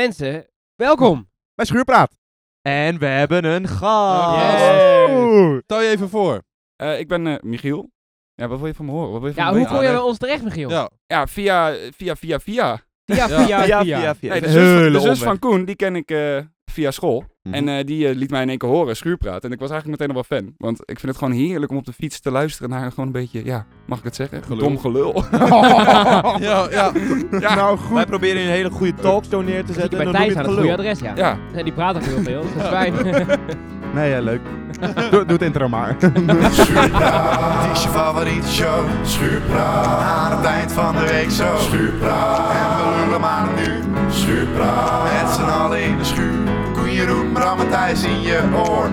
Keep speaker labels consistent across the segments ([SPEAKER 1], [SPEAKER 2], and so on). [SPEAKER 1] Mensen, welkom.
[SPEAKER 2] Bij Schuurpraat.
[SPEAKER 3] En we hebben een gast.
[SPEAKER 1] Yes.
[SPEAKER 2] Oeh.
[SPEAKER 4] Stel je even voor.
[SPEAKER 5] Eh, ik ben eh, Michiel. Ja, wat wil je van me horen? Wat wil je van
[SPEAKER 1] Ja,
[SPEAKER 5] me
[SPEAKER 1] hoe
[SPEAKER 5] weten?
[SPEAKER 1] kom je
[SPEAKER 4] nee.
[SPEAKER 1] bij ons terecht, Michiel?
[SPEAKER 4] Ja.
[SPEAKER 5] Ja, via, via, via, via.
[SPEAKER 1] Via,
[SPEAKER 4] Ja.
[SPEAKER 1] via,
[SPEAKER 3] Ja,
[SPEAKER 1] via.
[SPEAKER 3] via,
[SPEAKER 5] Nee,
[SPEAKER 3] via.
[SPEAKER 5] de zus,
[SPEAKER 2] hele
[SPEAKER 5] de zus van
[SPEAKER 2] omweg.
[SPEAKER 5] Koen, die ken ik eh, via school. En eh, die eh, liet mij in één keer horen, schuurpraat. En ik was eigenlijk meteen al wel fan. Want ik vind het gewoon heerlijk om op de fiets te luisteren naar gewoon een beetje, ja, mag ik het zeggen?
[SPEAKER 4] Gelul.
[SPEAKER 5] Dom gelul.
[SPEAKER 4] Ja, ja.
[SPEAKER 5] Ja.
[SPEAKER 3] Wij
[SPEAKER 2] Nou goed.
[SPEAKER 3] proberen een hele goede talkshow neer te
[SPEAKER 1] Zit je
[SPEAKER 3] zetten.
[SPEAKER 1] bij
[SPEAKER 3] en dan
[SPEAKER 1] Thijs
[SPEAKER 3] noem je
[SPEAKER 1] aan
[SPEAKER 3] het
[SPEAKER 1] het goede
[SPEAKER 3] gelul.
[SPEAKER 1] adres, ja.
[SPEAKER 5] ja.
[SPEAKER 1] Nee, die praten ook heel veel, dus dat is fijn.
[SPEAKER 2] Nee, ja, leuk. doe, doe het intro maar.
[SPEAKER 6] Het is je favoriete show, Schuurpraat. Aan het eind van de week zo, Schuurpraat. En we lullen maar nu, Schuurpraat. Met z'n allen in de schuur, Koen, Jeroen, Bram en Thijs in je oor.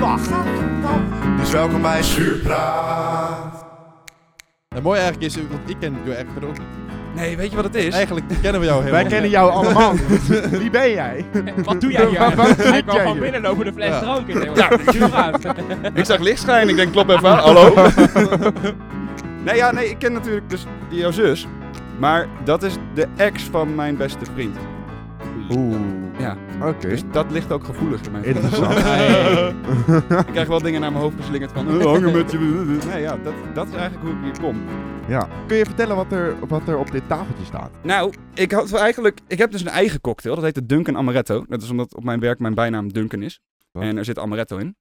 [SPEAKER 6] Wacht. Dus welkom bij Schuurpraat.
[SPEAKER 4] En mooi eigenlijk is, want ik ken jou eigenlijk ook niet.
[SPEAKER 5] Nee, weet je wat het is?
[SPEAKER 4] Eigenlijk kennen we jou helemaal
[SPEAKER 2] Wij kennen jou allemaal. Wie ben jij?
[SPEAKER 1] Wat doe jij hier?
[SPEAKER 2] Waar- waar
[SPEAKER 1] Hij
[SPEAKER 2] zit
[SPEAKER 1] kwam
[SPEAKER 2] jij
[SPEAKER 1] gewoon
[SPEAKER 2] hier?
[SPEAKER 1] binnenlopen de fles
[SPEAKER 4] Ja.
[SPEAKER 1] drank in.
[SPEAKER 5] Ja. Ik zag licht schijnen, ik denk klop even aan, hallo? nee, ja, nee, ik ken natuurlijk dus die- jouw zus. Maar dat is de ex van mijn beste vriend.
[SPEAKER 2] Oeh.
[SPEAKER 5] Ja.
[SPEAKER 2] Oké.
[SPEAKER 5] Dus dat ligt ook gevoelig in mijn
[SPEAKER 2] Interessant.
[SPEAKER 5] Ik krijg wel dingen naar mijn hoofd geslingerd van eh, hangen met je. Nee, ja, dat, dat is eigenlijk hoe ik hier kom.
[SPEAKER 2] Ja. Kun je vertellen wat er, wat er op dit tafeltje staat?
[SPEAKER 5] Nou, ik had wel eigenlijk. Ik heb dus een eigen cocktail. Dat heet de Duncan Amaretto. Dat is omdat op mijn werk mijn bijnaam Duncan is.
[SPEAKER 2] Wat?
[SPEAKER 5] En er zit Amaretto in.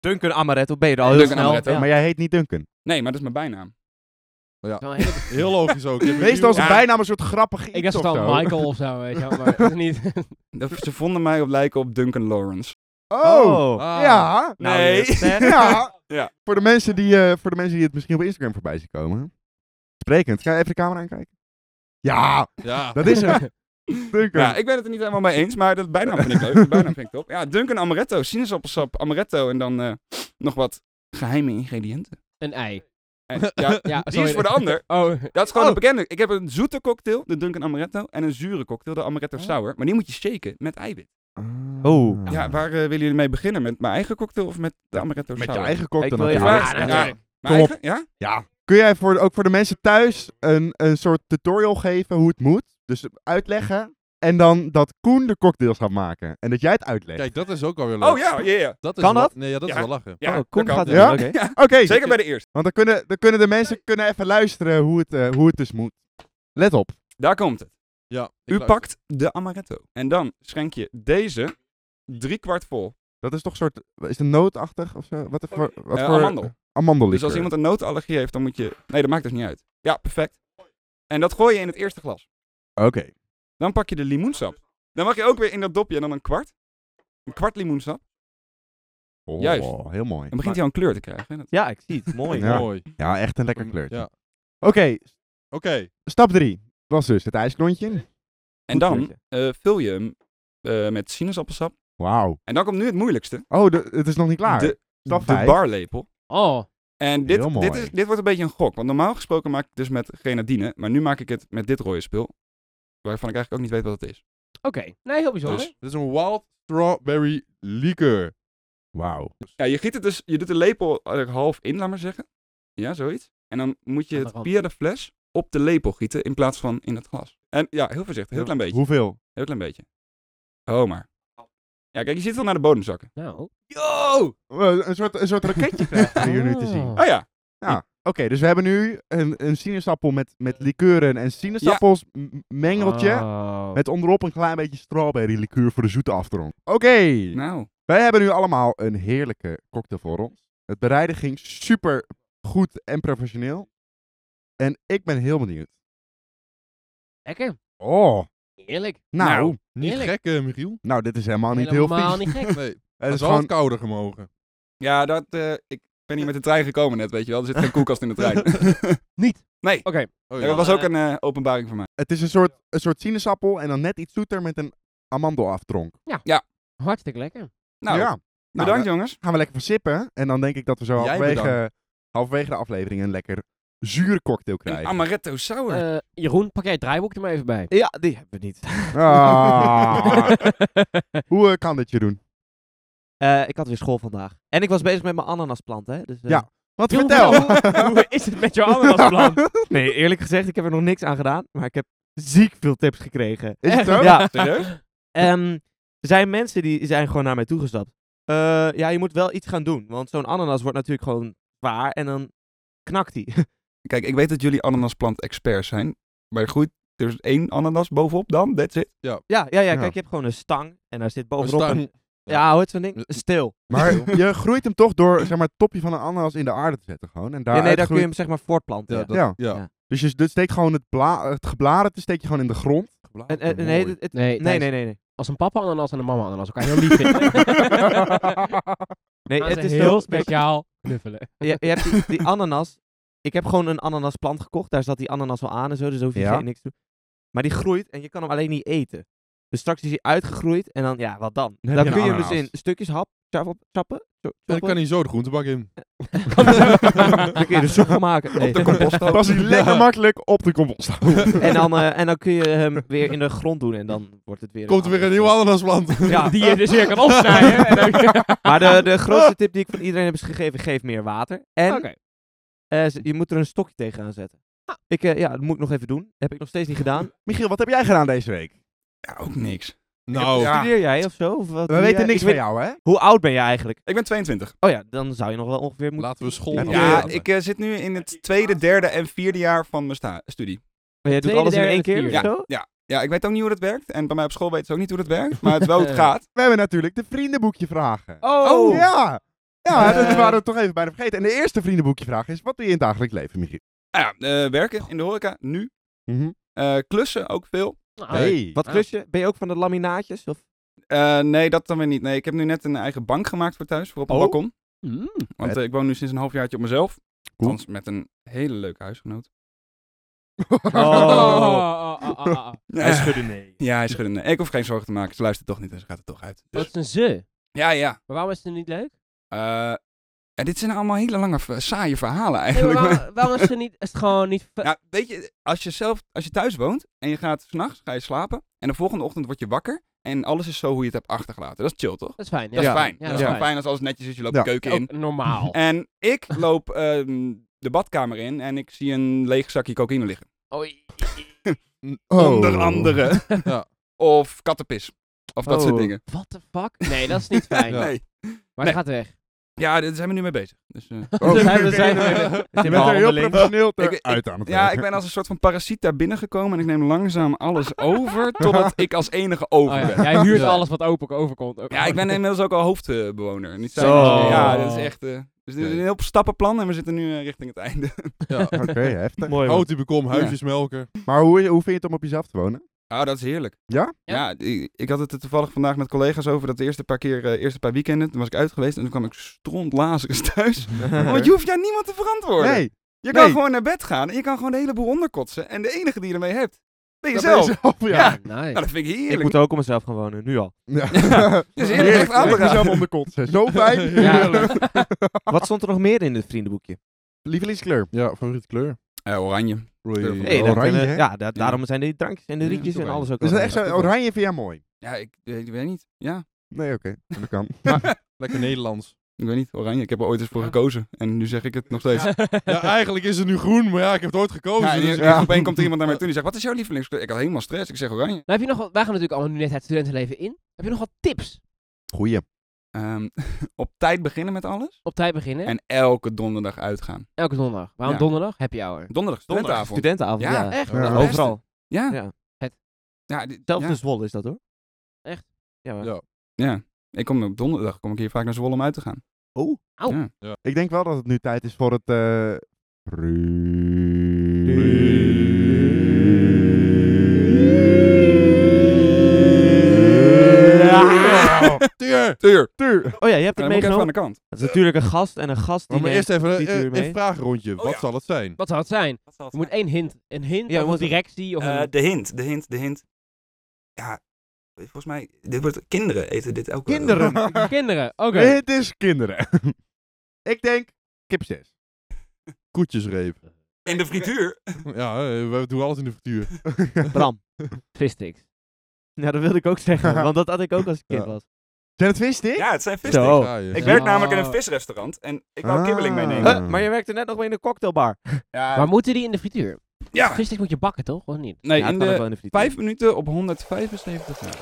[SPEAKER 3] Duncan Amaretto, ben je er al heel
[SPEAKER 5] Duncan
[SPEAKER 3] snel.
[SPEAKER 5] Amaretto.
[SPEAKER 3] Ja.
[SPEAKER 2] Maar jij heet niet Duncan.
[SPEAKER 5] Nee, maar dat is mijn bijnaam.
[SPEAKER 4] Heel logisch ook. Je hebt
[SPEAKER 2] Meestal is het
[SPEAKER 5] Ja.
[SPEAKER 2] bijnaam een soort grappig iets
[SPEAKER 1] Ik dacht het
[SPEAKER 2] of zo.
[SPEAKER 1] al Michael of zo, weet je wel, maar dat is niet...
[SPEAKER 5] Dat, ze vonden mij op lijken op Duncan Lawrence.
[SPEAKER 2] Oh.
[SPEAKER 4] Ah.
[SPEAKER 2] Ja.
[SPEAKER 3] Nou,
[SPEAKER 5] Nee.
[SPEAKER 3] yes, hè.
[SPEAKER 2] Ja.
[SPEAKER 5] Ja.
[SPEAKER 2] Voor, de mensen die, eh, voor de mensen die het misschien op Instagram voorbij zien komen. Sprekend. Ga je even de camera aankijken? Ja,
[SPEAKER 4] Ja.
[SPEAKER 2] dat is hem. Duncan.
[SPEAKER 5] Ja, ik ben het er niet helemaal mee eens, maar dat bijnaam vind ik leuk. De bijnaam vind ik top. Ja, Duncan Amaretto. Sinaasappelsap, Amaretto en dan eh, nog wat geheime ingrediënten.
[SPEAKER 1] Een ei.
[SPEAKER 5] En, ja,
[SPEAKER 1] Ja,
[SPEAKER 3] Ah,
[SPEAKER 5] die
[SPEAKER 1] sorry.
[SPEAKER 5] is voor de ander.
[SPEAKER 1] Oh,
[SPEAKER 5] Dat is gewoon een bekende. Ik heb een zoete cocktail, de Duncan Amaretto, en een zure cocktail, de Amaretto Sour. Maar die moet je shaken met eiwit.
[SPEAKER 3] Oh.
[SPEAKER 2] Ah.
[SPEAKER 5] Ja, waar eh, willen jullie mee beginnen? Met mijn eigen cocktail of met de Amaretto
[SPEAKER 2] Met je
[SPEAKER 5] Sour?
[SPEAKER 2] eigen
[SPEAKER 3] Ik
[SPEAKER 2] cocktail
[SPEAKER 3] wil je
[SPEAKER 2] natuurlijk.
[SPEAKER 3] vragen.
[SPEAKER 5] Ja,
[SPEAKER 1] Ja,
[SPEAKER 5] ja.
[SPEAKER 1] natuurlijk.
[SPEAKER 5] Mijn
[SPEAKER 2] Kom op.
[SPEAKER 5] eigen? Ja?
[SPEAKER 2] Ja. Kun jij voor, ook voor de mensen thuis een, een soort tutorial geven hoe het moet? Dus uitleggen. En dan dat Koen de cocktails gaat maken. En dat jij het uitlegt.
[SPEAKER 4] Kijk, dat is ook alweer leuk.
[SPEAKER 5] Oh ja, ja, ja.
[SPEAKER 4] Dat is
[SPEAKER 3] Kan
[SPEAKER 4] wel-
[SPEAKER 3] dat?
[SPEAKER 4] Nee, ja, dat
[SPEAKER 5] Ja.
[SPEAKER 4] is wel lachen.
[SPEAKER 5] ja
[SPEAKER 3] oh,
[SPEAKER 5] dat
[SPEAKER 3] Koen
[SPEAKER 5] kan.
[SPEAKER 3] gaat het
[SPEAKER 2] Ja?
[SPEAKER 3] doen, oké.
[SPEAKER 2] Oké,
[SPEAKER 5] Zeker bij de eerste.
[SPEAKER 2] want dan kunnen, dan kunnen de mensen kunnen even luisteren hoe het, eh, hoe het dus moet. Let op.
[SPEAKER 5] Daar komt het.
[SPEAKER 4] Ja, ik
[SPEAKER 5] U
[SPEAKER 4] luister.
[SPEAKER 5] pakt de Amaretto. En dan schenk je deze drie kwart vol.
[SPEAKER 2] Dat is toch een soort... Is het nootachtig of zo? Wat voor, wat
[SPEAKER 5] Eh,
[SPEAKER 2] voor
[SPEAKER 5] amandel.
[SPEAKER 2] Amandellikeur.
[SPEAKER 5] Dus als iemand een notenallergie heeft, dan moet je... Nee, dat maakt dus niet uit. Ja, perfect. En dat gooi je in het eerste glas.
[SPEAKER 2] Oké.
[SPEAKER 5] Dan pak je de limoensap. Dan mag je ook weer in dat dopje en dan een kwart. Een kwart limoensap.
[SPEAKER 2] Oh,
[SPEAKER 5] Juist.
[SPEAKER 2] Heel mooi.
[SPEAKER 5] Dan begint hij al een kleur te krijgen. hè. Dat-
[SPEAKER 3] Ja, ik zie het. Mooi.
[SPEAKER 2] Ja.
[SPEAKER 4] Mooi.
[SPEAKER 2] Ja, echt een lekker kleurtje.
[SPEAKER 4] Ja.
[SPEAKER 2] Oké,
[SPEAKER 4] Oké.
[SPEAKER 2] stap 3. Was dus het ijsklontje.
[SPEAKER 5] En dan
[SPEAKER 3] kleurtje.
[SPEAKER 5] eh, vul je hem eh, met sinaasappelsap.
[SPEAKER 2] Wauw.
[SPEAKER 5] En dan komt nu het moeilijkste.
[SPEAKER 2] Oh, de- het is nog niet klaar.
[SPEAKER 5] De,
[SPEAKER 2] Stap
[SPEAKER 5] de
[SPEAKER 2] vijf.
[SPEAKER 5] barlepel.
[SPEAKER 1] oh.
[SPEAKER 5] En
[SPEAKER 2] Heel
[SPEAKER 5] dit,
[SPEAKER 2] mooi.
[SPEAKER 5] dit, is, dit wordt een beetje een gok. Want normaal gesproken maak ik het dus met grenadine. Maar nu maak ik het met dit rode spul. Waarvan ik eigenlijk ook niet weet wat het is.
[SPEAKER 1] Oké, nee, heel bijzonder.
[SPEAKER 4] Dus, dit is een wild strawberry liqueur.
[SPEAKER 2] Wauw.
[SPEAKER 5] Ja, je giet het dus... Je doet de lepel er half in, laat maar zeggen. Ja, zoiets. En dan moet je
[SPEAKER 1] Aan de
[SPEAKER 5] het
[SPEAKER 1] rand.
[SPEAKER 5] via de fles op de lepel gieten in plaats van in het glas. En ja, heel voorzichtig. Heel klein beetje.
[SPEAKER 2] Hoeveel?
[SPEAKER 5] Heel klein beetje. Oh, maar. Ja, kijk, je ziet het al naar de bodem zakken.
[SPEAKER 1] Nou.
[SPEAKER 3] Yo!
[SPEAKER 2] Eh, Een soort, een soort raketje krijgen we hier nu te zien. Oké,
[SPEAKER 5] Oh ja.
[SPEAKER 2] dus we hebben nu een, een sinaasappel met, met likeuren en sinaasappels m- mengeltje.
[SPEAKER 5] Ah.
[SPEAKER 1] Oh.
[SPEAKER 2] Met onderop een klein beetje strawberry liqueur voor de zoete afdronk. Oké,
[SPEAKER 5] Nou.
[SPEAKER 2] wij hebben nu allemaal een heerlijke cocktail voor ons. Het bereiden ging super goed en professioneel. En ik ben heel benieuwd.
[SPEAKER 1] Lekker.
[SPEAKER 2] Oh,
[SPEAKER 1] Eerlijk.
[SPEAKER 2] nou, nou,
[SPEAKER 5] Nou.
[SPEAKER 4] Niet
[SPEAKER 1] Heerlijk.
[SPEAKER 4] gek, eh, Michiel.
[SPEAKER 2] dit is helemaal niet heel
[SPEAKER 1] Helemaal
[SPEAKER 2] vies.
[SPEAKER 1] niet gek.
[SPEAKER 4] Nee.
[SPEAKER 2] Het is
[SPEAKER 4] had wel
[SPEAKER 2] gewoon
[SPEAKER 4] wat kouder gemogen.
[SPEAKER 5] Ja, dat... eh, ik ben hier met de trein gekomen net, weet je wel. Er zit geen koelkast in de trein.
[SPEAKER 1] Niet.
[SPEAKER 5] Nee.
[SPEAKER 1] Oké.
[SPEAKER 5] Ja,
[SPEAKER 4] Oh, ja.
[SPEAKER 5] dat was ook een eh, openbaring voor mij.
[SPEAKER 2] Het is een soort, een soort sinaasappel en dan net iets zoeter met een amandelafdronk.
[SPEAKER 1] Hartstikke lekker.
[SPEAKER 5] Nou,
[SPEAKER 2] ja. Nou,
[SPEAKER 5] bedankt
[SPEAKER 2] dan
[SPEAKER 5] jongens.
[SPEAKER 2] gaan we lekker van sippen. En dan denk ik dat we zo
[SPEAKER 4] Jij
[SPEAKER 2] halverwege, halverwege de aflevering een lekker zuur cocktail
[SPEAKER 5] Een
[SPEAKER 2] krijgen.
[SPEAKER 5] amaretto sour.
[SPEAKER 1] Eh, Jeroen, pak jij het draaiboek er maar even bij.
[SPEAKER 3] Ja, die hebben we niet.
[SPEAKER 2] Ah. Hoe eh, kan dit je doen?
[SPEAKER 3] Eh, ik had weer school vandaag. En ik was bezig met mijn ananasplant, hè. Dus, eh,
[SPEAKER 2] Ja. Wat
[SPEAKER 1] Jeroen,
[SPEAKER 2] vertel?
[SPEAKER 1] Hoe, hoe is het met jouw ananasplant?
[SPEAKER 3] Nee, eerlijk gezegd, ik heb er nog niks aan gedaan. Maar ik heb ziek veel tips gekregen.
[SPEAKER 2] Is het zo?
[SPEAKER 5] Eh.
[SPEAKER 3] Ja,
[SPEAKER 4] Serieus?
[SPEAKER 3] Oh. ehm, er zijn mensen die zijn gewoon naar mij toegestapt. Eh, ja, je moet wel iets gaan doen, want zo'n ananas wordt natuurlijk gewoon zwaar en dan knakt die.
[SPEAKER 5] Kijk, ik weet dat jullie ananasplant experts zijn. Maar goed, er is één ananas bovenop dan, that's it.
[SPEAKER 3] ja, ja, ja,
[SPEAKER 2] Ja.
[SPEAKER 3] kijk, je hebt gewoon een stang en daar zit
[SPEAKER 4] Een
[SPEAKER 3] bovenop een...
[SPEAKER 4] stang.
[SPEAKER 3] Ja, hoort zo'n ding? Stil.
[SPEAKER 2] Maar je groeit hem toch door zeg maar, het topje van een ananas in de aarde te zetten gewoon. En daar
[SPEAKER 3] ja, nee, daar kun je hem zeg maar voortplanten.
[SPEAKER 4] Ja,
[SPEAKER 3] ja.
[SPEAKER 4] dat-
[SPEAKER 2] Ja.
[SPEAKER 4] ja.
[SPEAKER 3] Ja.
[SPEAKER 2] Dus je dus steekt gewoon het, bla het gebladerte steek je gewoon in de grond.
[SPEAKER 3] En, en- nee, het- het-
[SPEAKER 1] Nee,
[SPEAKER 3] nee,
[SPEAKER 1] Thijs,
[SPEAKER 3] nee, nee, nee.
[SPEAKER 1] Als een papa ananas en een mama ananas elkaar heel lief vinden.
[SPEAKER 3] Nee,
[SPEAKER 1] Dat
[SPEAKER 3] het is
[SPEAKER 1] heel
[SPEAKER 3] heel
[SPEAKER 1] speciaal knuffelen.
[SPEAKER 3] je, je hebt die, die ananas. Ik heb gewoon een ananasplant gekocht. Daar zat die ananas al aan en zo. Dus hoef je
[SPEAKER 2] Ja.
[SPEAKER 3] geen niks te doen. Maar die groeit en je kan hem alleen niet eten. Dus straks is hij uitgegroeid en dan, ja, wat dan?
[SPEAKER 2] Dan
[SPEAKER 3] Dan
[SPEAKER 2] heb je
[SPEAKER 3] kun je
[SPEAKER 2] een
[SPEAKER 3] hem dus in
[SPEAKER 2] ananas.
[SPEAKER 3] stukjes hap, chappen, chappen. cho-
[SPEAKER 4] En dan
[SPEAKER 3] choppen.
[SPEAKER 4] kan hij zo de groentebak in.
[SPEAKER 3] Dan kun je er soep van maken. Nee.
[SPEAKER 2] Pas hij lekker makkelijk op de compost.
[SPEAKER 3] En dan, eh, en dan kun je hem weer in de grond doen en dan wordt het weer...
[SPEAKER 4] Komt er weer een nieuwe ananasplant.
[SPEAKER 3] Ja,
[SPEAKER 1] Die je dus weer kan opsnijden. en dan-
[SPEAKER 3] maar de, de grootste tip die ik van iedereen heb is gegeven, geef meer water. En
[SPEAKER 1] Oké.
[SPEAKER 3] eh, ze- je moet er een stokje tegenaan zetten.
[SPEAKER 2] Ah.
[SPEAKER 3] Ik, eh, ja, dat moet ik nog even doen. Heb ik nog steeds niet gedaan.
[SPEAKER 2] Michiel, wat heb jij gedaan deze week?
[SPEAKER 5] Ja, ook niks.
[SPEAKER 4] Nou,
[SPEAKER 2] Ja.
[SPEAKER 3] Studeer jij of zo? Of wat
[SPEAKER 2] We
[SPEAKER 3] doe jij?
[SPEAKER 2] weten
[SPEAKER 3] Ik
[SPEAKER 2] niks
[SPEAKER 3] weet-
[SPEAKER 2] van jou, hè?
[SPEAKER 3] Hoe oud ben je eigenlijk?
[SPEAKER 5] Ik ben 22.
[SPEAKER 3] Oh ja, dan zou je nog wel ongeveer moeten...
[SPEAKER 4] laten we school
[SPEAKER 2] Ja,
[SPEAKER 4] maar
[SPEAKER 5] Ja,
[SPEAKER 4] doen.
[SPEAKER 5] ik eh, zit nu in het tweede, derde en vierde jaar van mijn sta- studie.
[SPEAKER 3] Maar jij doet
[SPEAKER 1] Tweede,
[SPEAKER 3] alles in
[SPEAKER 1] derde
[SPEAKER 3] één
[SPEAKER 1] en
[SPEAKER 3] keer
[SPEAKER 1] vierde.
[SPEAKER 3] of zo?
[SPEAKER 5] Ja, ja, ja, ik weet ook niet hoe dat werkt. En bij mij op school weten ze ook niet hoe dat werkt. Maar het is wel hoe het gaat.
[SPEAKER 2] We hebben natuurlijk de vriendenboekje vragen.
[SPEAKER 3] Oh!
[SPEAKER 2] ja! Ja, dat
[SPEAKER 3] Eh.
[SPEAKER 2] waren we toch even bijna vergeten. En de eerste vriendenboekje vraag is, wat doe je in het dagelijks leven, Michiel?
[SPEAKER 5] Nou ja, eh, werken in de horeca, nu. Eh, klussen ook veel.
[SPEAKER 1] Nou,
[SPEAKER 2] Hey.
[SPEAKER 3] Wat klus je? Ben je ook van de laminaatjes? Of?
[SPEAKER 5] Eh, nee, dat dan weer niet. Nee, ik heb nu net een eigen bank gemaakt voor thuis, voor op een
[SPEAKER 3] Oh.
[SPEAKER 5] balkon.
[SPEAKER 1] Mm.
[SPEAKER 5] Want
[SPEAKER 2] Vet.
[SPEAKER 5] eh, ik woon nu sinds een halfjaartje op mezelf.
[SPEAKER 2] Cool.
[SPEAKER 5] Althans, met een hele leuke huisgenoot.
[SPEAKER 1] Oh, oh, oh, oh, oh.
[SPEAKER 5] Eh, Ja, hij schudde nee. Ik hoef geen zorgen te maken. Ze luistert toch niet en ze gaat er toch uit. Dus-
[SPEAKER 1] Wat is een ze?
[SPEAKER 5] Ja, ja.
[SPEAKER 1] Maar waarom is het niet leuk?
[SPEAKER 5] Eh, en dit zijn allemaal hele lange, v- saaie verhalen
[SPEAKER 1] Nee, maar
[SPEAKER 5] eigenlijk.
[SPEAKER 1] waarom, waarom is het, niet, is het gewoon niet... fe-
[SPEAKER 5] Ja, Nou, weet je, als je zelf, als je thuis woont en je gaat s'nachts, ga je slapen. En de volgende ochtend word je wakker. En alles is zo hoe je het hebt achtergelaten. Dat is chill, toch?
[SPEAKER 1] Dat is fijn.
[SPEAKER 5] Dat is fijn. dat is
[SPEAKER 1] wel
[SPEAKER 5] gewoon fijn als alles netjes is. Je loopt
[SPEAKER 2] Ja.
[SPEAKER 5] de keuken in.
[SPEAKER 1] Ook normaal.
[SPEAKER 5] En ik loop ehm, de badkamer in en ik zie een leeg zakje cocaïne liggen.
[SPEAKER 1] Oei.
[SPEAKER 2] Oh.
[SPEAKER 5] Onder andere.
[SPEAKER 4] Ja.
[SPEAKER 5] Of kattenpis. Of dat soort
[SPEAKER 3] Oh.
[SPEAKER 5] dingen.
[SPEAKER 1] What the fuck? Nee, dat is niet fijn.
[SPEAKER 4] Ja.
[SPEAKER 5] Nee.
[SPEAKER 1] Maar
[SPEAKER 5] Nee.
[SPEAKER 1] het gaat weg.
[SPEAKER 5] Ja, daar zijn we nu mee bezig. Dus, eh,
[SPEAKER 3] We zijn, we zijn er weer. We
[SPEAKER 2] Je
[SPEAKER 3] zijn
[SPEAKER 2] bent er heel
[SPEAKER 3] behandeling.
[SPEAKER 2] professioneel
[SPEAKER 5] Ik-
[SPEAKER 2] ter-
[SPEAKER 5] ik-
[SPEAKER 2] uit aan het
[SPEAKER 5] ja,
[SPEAKER 2] werk.
[SPEAKER 5] ik ben als een soort van parasiet daar binnengekomen en ik neem langzaam alles over totdat ik als enige over
[SPEAKER 1] Oh,
[SPEAKER 5] ben.
[SPEAKER 1] ja. Jij huurt
[SPEAKER 4] Ja.
[SPEAKER 1] alles wat open overkomt. ook.
[SPEAKER 5] Ja, ik ben inmiddels ook al hoofdbewoner. Niet
[SPEAKER 3] Zo.
[SPEAKER 5] zijn- Ja, dat is echt... eh, dus dit is een
[SPEAKER 4] Oké.
[SPEAKER 5] heel stappenplan en we zitten nu eh, richting het einde.
[SPEAKER 4] Ja.
[SPEAKER 2] Oké, heftig.
[SPEAKER 3] Mooi man.
[SPEAKER 4] Hout die bekom, huisjes melken.
[SPEAKER 2] Maar hoe, hoe vind je het om op jezelf te wonen?
[SPEAKER 5] Ah, dat is heerlijk.
[SPEAKER 2] Ja?
[SPEAKER 5] Ja, ik, ik had het er toevallig vandaag met collega's over dat de eerste paar keer, eh, eerste paar weekenden, toen was ik uit geweest en toen kwam ik strontlazerens thuis. Want je hoeft jou niemand te verantwoorden.
[SPEAKER 2] Nee,
[SPEAKER 5] je kan
[SPEAKER 2] nee.
[SPEAKER 5] gewoon naar bed gaan en je kan gewoon de hele boel onderkotsen. En de enige die je ermee hebt, ben je
[SPEAKER 2] dat ben
[SPEAKER 5] zelf.
[SPEAKER 2] je zelf, ja.
[SPEAKER 1] Ja, nice.
[SPEAKER 5] Nou, dat vind ik
[SPEAKER 3] Ik
[SPEAKER 5] heerlijk.
[SPEAKER 3] moet ook om mezelf gaan wonen, nu al.
[SPEAKER 2] Ja.
[SPEAKER 5] is eerlijk, echt aan te
[SPEAKER 2] Ik
[SPEAKER 5] raden.
[SPEAKER 2] mezelf om de kont. hè. Zo fijn.
[SPEAKER 1] Ja.
[SPEAKER 3] Wat stond er nog meer in het vriendenboekje?
[SPEAKER 2] Lievelingskleur.
[SPEAKER 4] Ja, favoriete kleur.
[SPEAKER 5] Eh, oranje.
[SPEAKER 4] Oei.
[SPEAKER 5] Hey,
[SPEAKER 3] dat
[SPEAKER 2] oranje,
[SPEAKER 3] kunnen-
[SPEAKER 2] hè?
[SPEAKER 3] ja, da- daarom zijn die drankjes en de
[SPEAKER 5] Ja,
[SPEAKER 3] rietjes en
[SPEAKER 4] oké.
[SPEAKER 3] alles ook
[SPEAKER 2] Is dat
[SPEAKER 3] oranje.
[SPEAKER 2] echt zo? Oranje vind jij mooi?
[SPEAKER 5] Ja, ik, ik weet niet. Ja,
[SPEAKER 2] Nee, oké. Dat kan.
[SPEAKER 4] Lekker Nederlands.
[SPEAKER 5] ik weet niet. Oranje. Ik heb er ooit eens voor gekozen. En nu zeg ik het nog steeds. Ja,
[SPEAKER 4] Ja, eigenlijk is het nu groen, maar ja, ik heb het ooit gekozen.
[SPEAKER 5] en
[SPEAKER 4] dus
[SPEAKER 5] hier-
[SPEAKER 4] ja.
[SPEAKER 5] Opeens komt er iemand naar mij toe en die zegt, wat is jouw lievelingskleur? Ik had helemaal stress. Ik zeg oranje.
[SPEAKER 1] Nou, heb je nog wat, wij gaan natuurlijk allemaal nu net het studentenleven in. Heb je nog wat tips?
[SPEAKER 2] Goeie.
[SPEAKER 5] Ehm, op tijd beginnen met alles.
[SPEAKER 1] Op tijd beginnen.
[SPEAKER 5] En elke donderdag uitgaan.
[SPEAKER 1] Elke donderdag. Waarom
[SPEAKER 5] Ja.
[SPEAKER 1] donderdag? Happy hour.
[SPEAKER 5] Donderdag,
[SPEAKER 3] Donderdag,
[SPEAKER 5] studentenavond.
[SPEAKER 3] studentenavond,
[SPEAKER 5] Ja,
[SPEAKER 3] ja.
[SPEAKER 1] Echt?
[SPEAKER 2] Ja.
[SPEAKER 1] Dat is best.
[SPEAKER 3] Overal.
[SPEAKER 5] Ja.
[SPEAKER 3] Ja. dus.
[SPEAKER 1] Het-
[SPEAKER 5] Ja, dit-
[SPEAKER 3] Zelfs
[SPEAKER 5] ja.
[SPEAKER 3] de Zwolle is dat hoor.
[SPEAKER 1] Echt?
[SPEAKER 3] Ja, maar-
[SPEAKER 4] Ja.
[SPEAKER 5] Ja. Ik kom op donderdag kom ik hier vaak naar Zwolle om uit te gaan.
[SPEAKER 2] Ik denk wel dat het nu tijd is voor het... eh,
[SPEAKER 4] Tuur!
[SPEAKER 5] Tuur.
[SPEAKER 2] Tuur.
[SPEAKER 3] Oh ja, je hebt het
[SPEAKER 5] Dan moet ik even aan
[SPEAKER 3] meegenomen.
[SPEAKER 5] de kant.
[SPEAKER 3] Dat is natuurlijk een gast en een gast die
[SPEAKER 4] Maar, maar
[SPEAKER 3] neemt
[SPEAKER 4] eerst even
[SPEAKER 3] die
[SPEAKER 4] eh,
[SPEAKER 3] tuur
[SPEAKER 4] een
[SPEAKER 3] mee.
[SPEAKER 4] vragenrondje.
[SPEAKER 5] Oh,
[SPEAKER 4] Wat
[SPEAKER 5] ja.
[SPEAKER 4] zal het zijn?
[SPEAKER 1] Wat zou het zijn? Je moet één hint. Een hint
[SPEAKER 3] Ja,
[SPEAKER 1] of een
[SPEAKER 3] want-
[SPEAKER 1] directie of
[SPEAKER 5] Eh,
[SPEAKER 1] een...
[SPEAKER 5] de hint, de hint, de hint. Ja, volgens mij, dit wordt, kinderen eten dit elke
[SPEAKER 2] Kinderen.
[SPEAKER 1] Kinderen. Oké.
[SPEAKER 2] Het is kinderen. ik denk kip 6.
[SPEAKER 4] Koetjesreep.
[SPEAKER 5] In de frituur.
[SPEAKER 4] Ja, eh, we doen alles in de frituur.
[SPEAKER 3] Bram.
[SPEAKER 1] Vissticks.
[SPEAKER 3] Ja, dat wilde ik ook zeggen, want dat had ik ook als ik kind
[SPEAKER 4] Ja.
[SPEAKER 3] was.
[SPEAKER 2] Zijn het vis, Dick?
[SPEAKER 5] Ja, het zijn vissticks.
[SPEAKER 3] Zo.
[SPEAKER 4] Ga je.
[SPEAKER 5] Ik
[SPEAKER 1] Ja.
[SPEAKER 5] werk namelijk in
[SPEAKER 1] Ah.
[SPEAKER 5] een visrestaurant en ik wou
[SPEAKER 2] Ah.
[SPEAKER 5] kibbeling meenemen.
[SPEAKER 2] Huh?
[SPEAKER 3] Huh, maar je werkte net nog mee in een cocktailbar.
[SPEAKER 5] Ja,
[SPEAKER 1] Maar moeten die in de frituur?
[SPEAKER 5] Ja.
[SPEAKER 1] Visstick moet je bakken, toch? Of niet?
[SPEAKER 5] Nee,
[SPEAKER 3] Ja,
[SPEAKER 5] in
[SPEAKER 3] het kan ook
[SPEAKER 5] de
[SPEAKER 3] wel in de friet.
[SPEAKER 5] vijf minuten op 175 graden.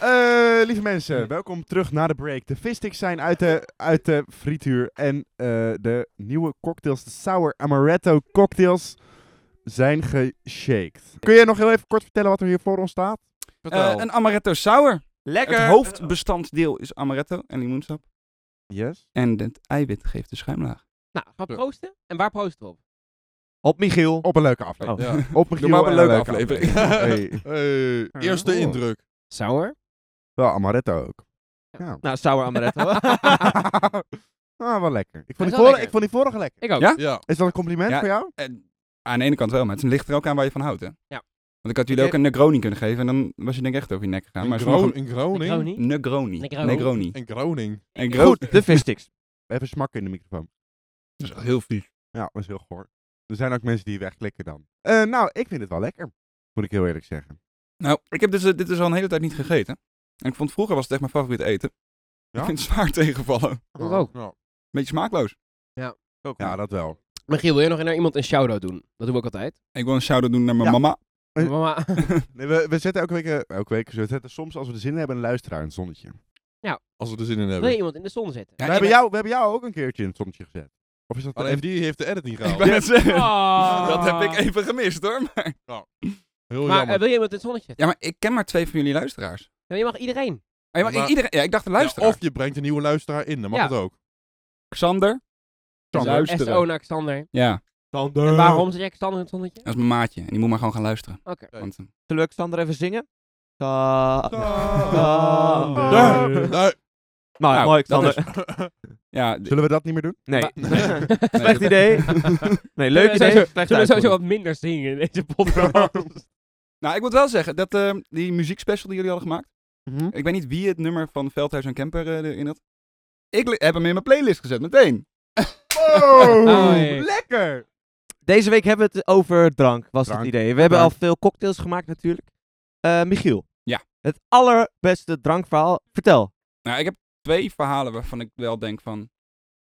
[SPEAKER 2] Eh, lieve
[SPEAKER 5] Hm.
[SPEAKER 2] mensen, welkom terug na de break. De vissticks zijn uit de, uit de frituur. En eh, de nieuwe cocktails, de Sour Amaretto cocktails, zijn geshaked. Kun je nog heel even kort vertellen wat er hier voor ons staat?
[SPEAKER 5] Eh, een amaretto sour.
[SPEAKER 3] Lekker! Oh.
[SPEAKER 5] Het hoofdbestanddeel is amaretto en limoensap.
[SPEAKER 2] Yes.
[SPEAKER 5] En het eiwit geeft de schuimlaag.
[SPEAKER 1] Nou, gaan we
[SPEAKER 4] Zo.
[SPEAKER 1] proosten? En waar proosten we op?
[SPEAKER 3] Op Michiel. Oh.
[SPEAKER 2] Op een leuke aflevering.
[SPEAKER 4] Ja.
[SPEAKER 2] Op Michiel
[SPEAKER 5] Doe maar op
[SPEAKER 2] en
[SPEAKER 5] een leuke aflevering.
[SPEAKER 2] aflevering. Hey.
[SPEAKER 4] Hey, Eh, Eerste
[SPEAKER 2] Oh.
[SPEAKER 4] indruk.
[SPEAKER 1] Sour.
[SPEAKER 2] Wel Amaretto ook. Ja.
[SPEAKER 3] Nou, sour amaretto.
[SPEAKER 2] ah, wel lekker. Ik
[SPEAKER 1] wel
[SPEAKER 2] vond, die vorige,
[SPEAKER 1] lekker.
[SPEAKER 2] ik vond die vorige lekker.
[SPEAKER 1] Ik ook.
[SPEAKER 5] Ja?
[SPEAKER 4] Ja.
[SPEAKER 2] Is dat een compliment
[SPEAKER 5] Ja.
[SPEAKER 2] voor jou?
[SPEAKER 5] En aan de ene kant wel, maar het ligt er ook aan waar je van houdt, hè?
[SPEAKER 1] Ja.
[SPEAKER 5] Want ik had jullie ook een Negroni kunnen geven en dan was je denk ik echt over je nek gegaan.
[SPEAKER 4] In,
[SPEAKER 5] Maar
[SPEAKER 4] Gro
[SPEAKER 5] sommige-
[SPEAKER 4] in Groningen.
[SPEAKER 1] Negroni.
[SPEAKER 5] Negroni.
[SPEAKER 1] Negroni.
[SPEAKER 5] Negroni.
[SPEAKER 4] In Groningen.
[SPEAKER 5] En
[SPEAKER 3] Goed, de vissticks.
[SPEAKER 2] Even smakken in de microfoon.
[SPEAKER 4] Dat is echt heel vies.
[SPEAKER 2] Ja, dat is heel goor. Er zijn ook mensen die wegklikken dan. Eh, nou, ik vind het wel lekker. Moet ik heel eerlijk zeggen.
[SPEAKER 5] Nou, ik heb dus, eh, dit dus al een hele tijd niet gegeten. En ik vond vroeger was het echt mijn favoriet eten.
[SPEAKER 2] Ja?
[SPEAKER 5] Ik vind het zwaar tegenvallen.
[SPEAKER 1] Ik
[SPEAKER 2] Oh.
[SPEAKER 1] ook.
[SPEAKER 4] Nou,
[SPEAKER 5] Beetje smaakloos.
[SPEAKER 2] Ja, dat wel.
[SPEAKER 1] Michiel, wil je nog naar iemand een shout-out doen? Dat doen we ook altijd.
[SPEAKER 5] Ik wil een shout-out doen naar mijn
[SPEAKER 2] Ja.
[SPEAKER 5] mama.
[SPEAKER 2] Eh.
[SPEAKER 1] Mama,
[SPEAKER 2] Nee, we, we zetten elke week, eh, elke week we zetten soms als we de zin hebben een luisteraar in het zonnetje.
[SPEAKER 4] als we er zin
[SPEAKER 1] wil
[SPEAKER 4] in
[SPEAKER 1] je
[SPEAKER 4] hebben.
[SPEAKER 1] iemand in de zon zetten?
[SPEAKER 5] Ja,
[SPEAKER 2] we,
[SPEAKER 5] ik
[SPEAKER 2] hebben
[SPEAKER 5] ben-
[SPEAKER 2] jou, we hebben jou ook een keertje in het zonnetje gezet. Of is dat
[SPEAKER 4] Alleen die heeft de edit niet
[SPEAKER 5] Ik
[SPEAKER 4] gehaald.
[SPEAKER 5] ben het zeggen.
[SPEAKER 1] Ah.
[SPEAKER 5] Dat heb ik even gemist hoor. Maar...
[SPEAKER 4] Heel
[SPEAKER 1] Maar eh,
[SPEAKER 4] jammer.
[SPEAKER 1] wil je iemand in het zonnetje zetten?
[SPEAKER 5] Ja, maar ik ken maar twee van jullie luisteraars.
[SPEAKER 1] Ja, je mag iedereen.
[SPEAKER 5] Oh, ja, maar
[SPEAKER 4] Maar-
[SPEAKER 5] Ik, iedereen, ja, ik dacht de luisteraar.
[SPEAKER 4] Ja, of je brengt een nieuwe luisteraar in, dan mag
[SPEAKER 1] Ja.
[SPEAKER 4] het ook.
[SPEAKER 5] Xander.
[SPEAKER 2] Xander.
[SPEAKER 5] Luisteren.
[SPEAKER 1] SO naar Xander.
[SPEAKER 5] Ja,
[SPEAKER 1] En waarom zet jij Xander in het zonnetje?
[SPEAKER 5] dat is mijn maatje. En die moet maar gewoon gaan luisteren.
[SPEAKER 1] Oké.
[SPEAKER 5] Want, eh,
[SPEAKER 3] Zullen we Xander even zingen? Sa-
[SPEAKER 4] Xander.
[SPEAKER 3] Xander.
[SPEAKER 4] Nee.
[SPEAKER 3] Nou,
[SPEAKER 5] Ah. Nou,
[SPEAKER 3] mooi,
[SPEAKER 5] dat
[SPEAKER 3] Xander.
[SPEAKER 5] ja, d-
[SPEAKER 2] Zullen we dat niet meer doen?
[SPEAKER 3] Nee.
[SPEAKER 5] nee,
[SPEAKER 3] Slecht
[SPEAKER 5] dat-
[SPEAKER 3] idee. Nee, leuk
[SPEAKER 1] Zullen we
[SPEAKER 3] idee.
[SPEAKER 1] sowieso-
[SPEAKER 3] Slecht
[SPEAKER 1] Zullen we sowieso
[SPEAKER 3] idee.
[SPEAKER 1] wat minder zingen in deze podcast?
[SPEAKER 5] Nou, ik moet wel zeggen dat eh, die muziekspecial die jullie hadden gemaakt. Ik weet niet wie het nummer van Veldhuis en Kemper eh, erin had. Ik li- heb hem in mijn playlist gezet, meteen.
[SPEAKER 2] Wow,
[SPEAKER 1] Oh, jee.
[SPEAKER 3] Nou,
[SPEAKER 2] lekker!
[SPEAKER 3] Deze week hebben we het over drank, was
[SPEAKER 2] Drank.
[SPEAKER 3] het idee. We hebben
[SPEAKER 2] Drank.
[SPEAKER 3] al veel cocktails gemaakt natuurlijk. Eh, Michiel.
[SPEAKER 5] Ja.
[SPEAKER 3] Het allerbeste drankverhaal. Vertel.
[SPEAKER 5] Nou, ik heb twee verhalen waarvan ik wel denk van...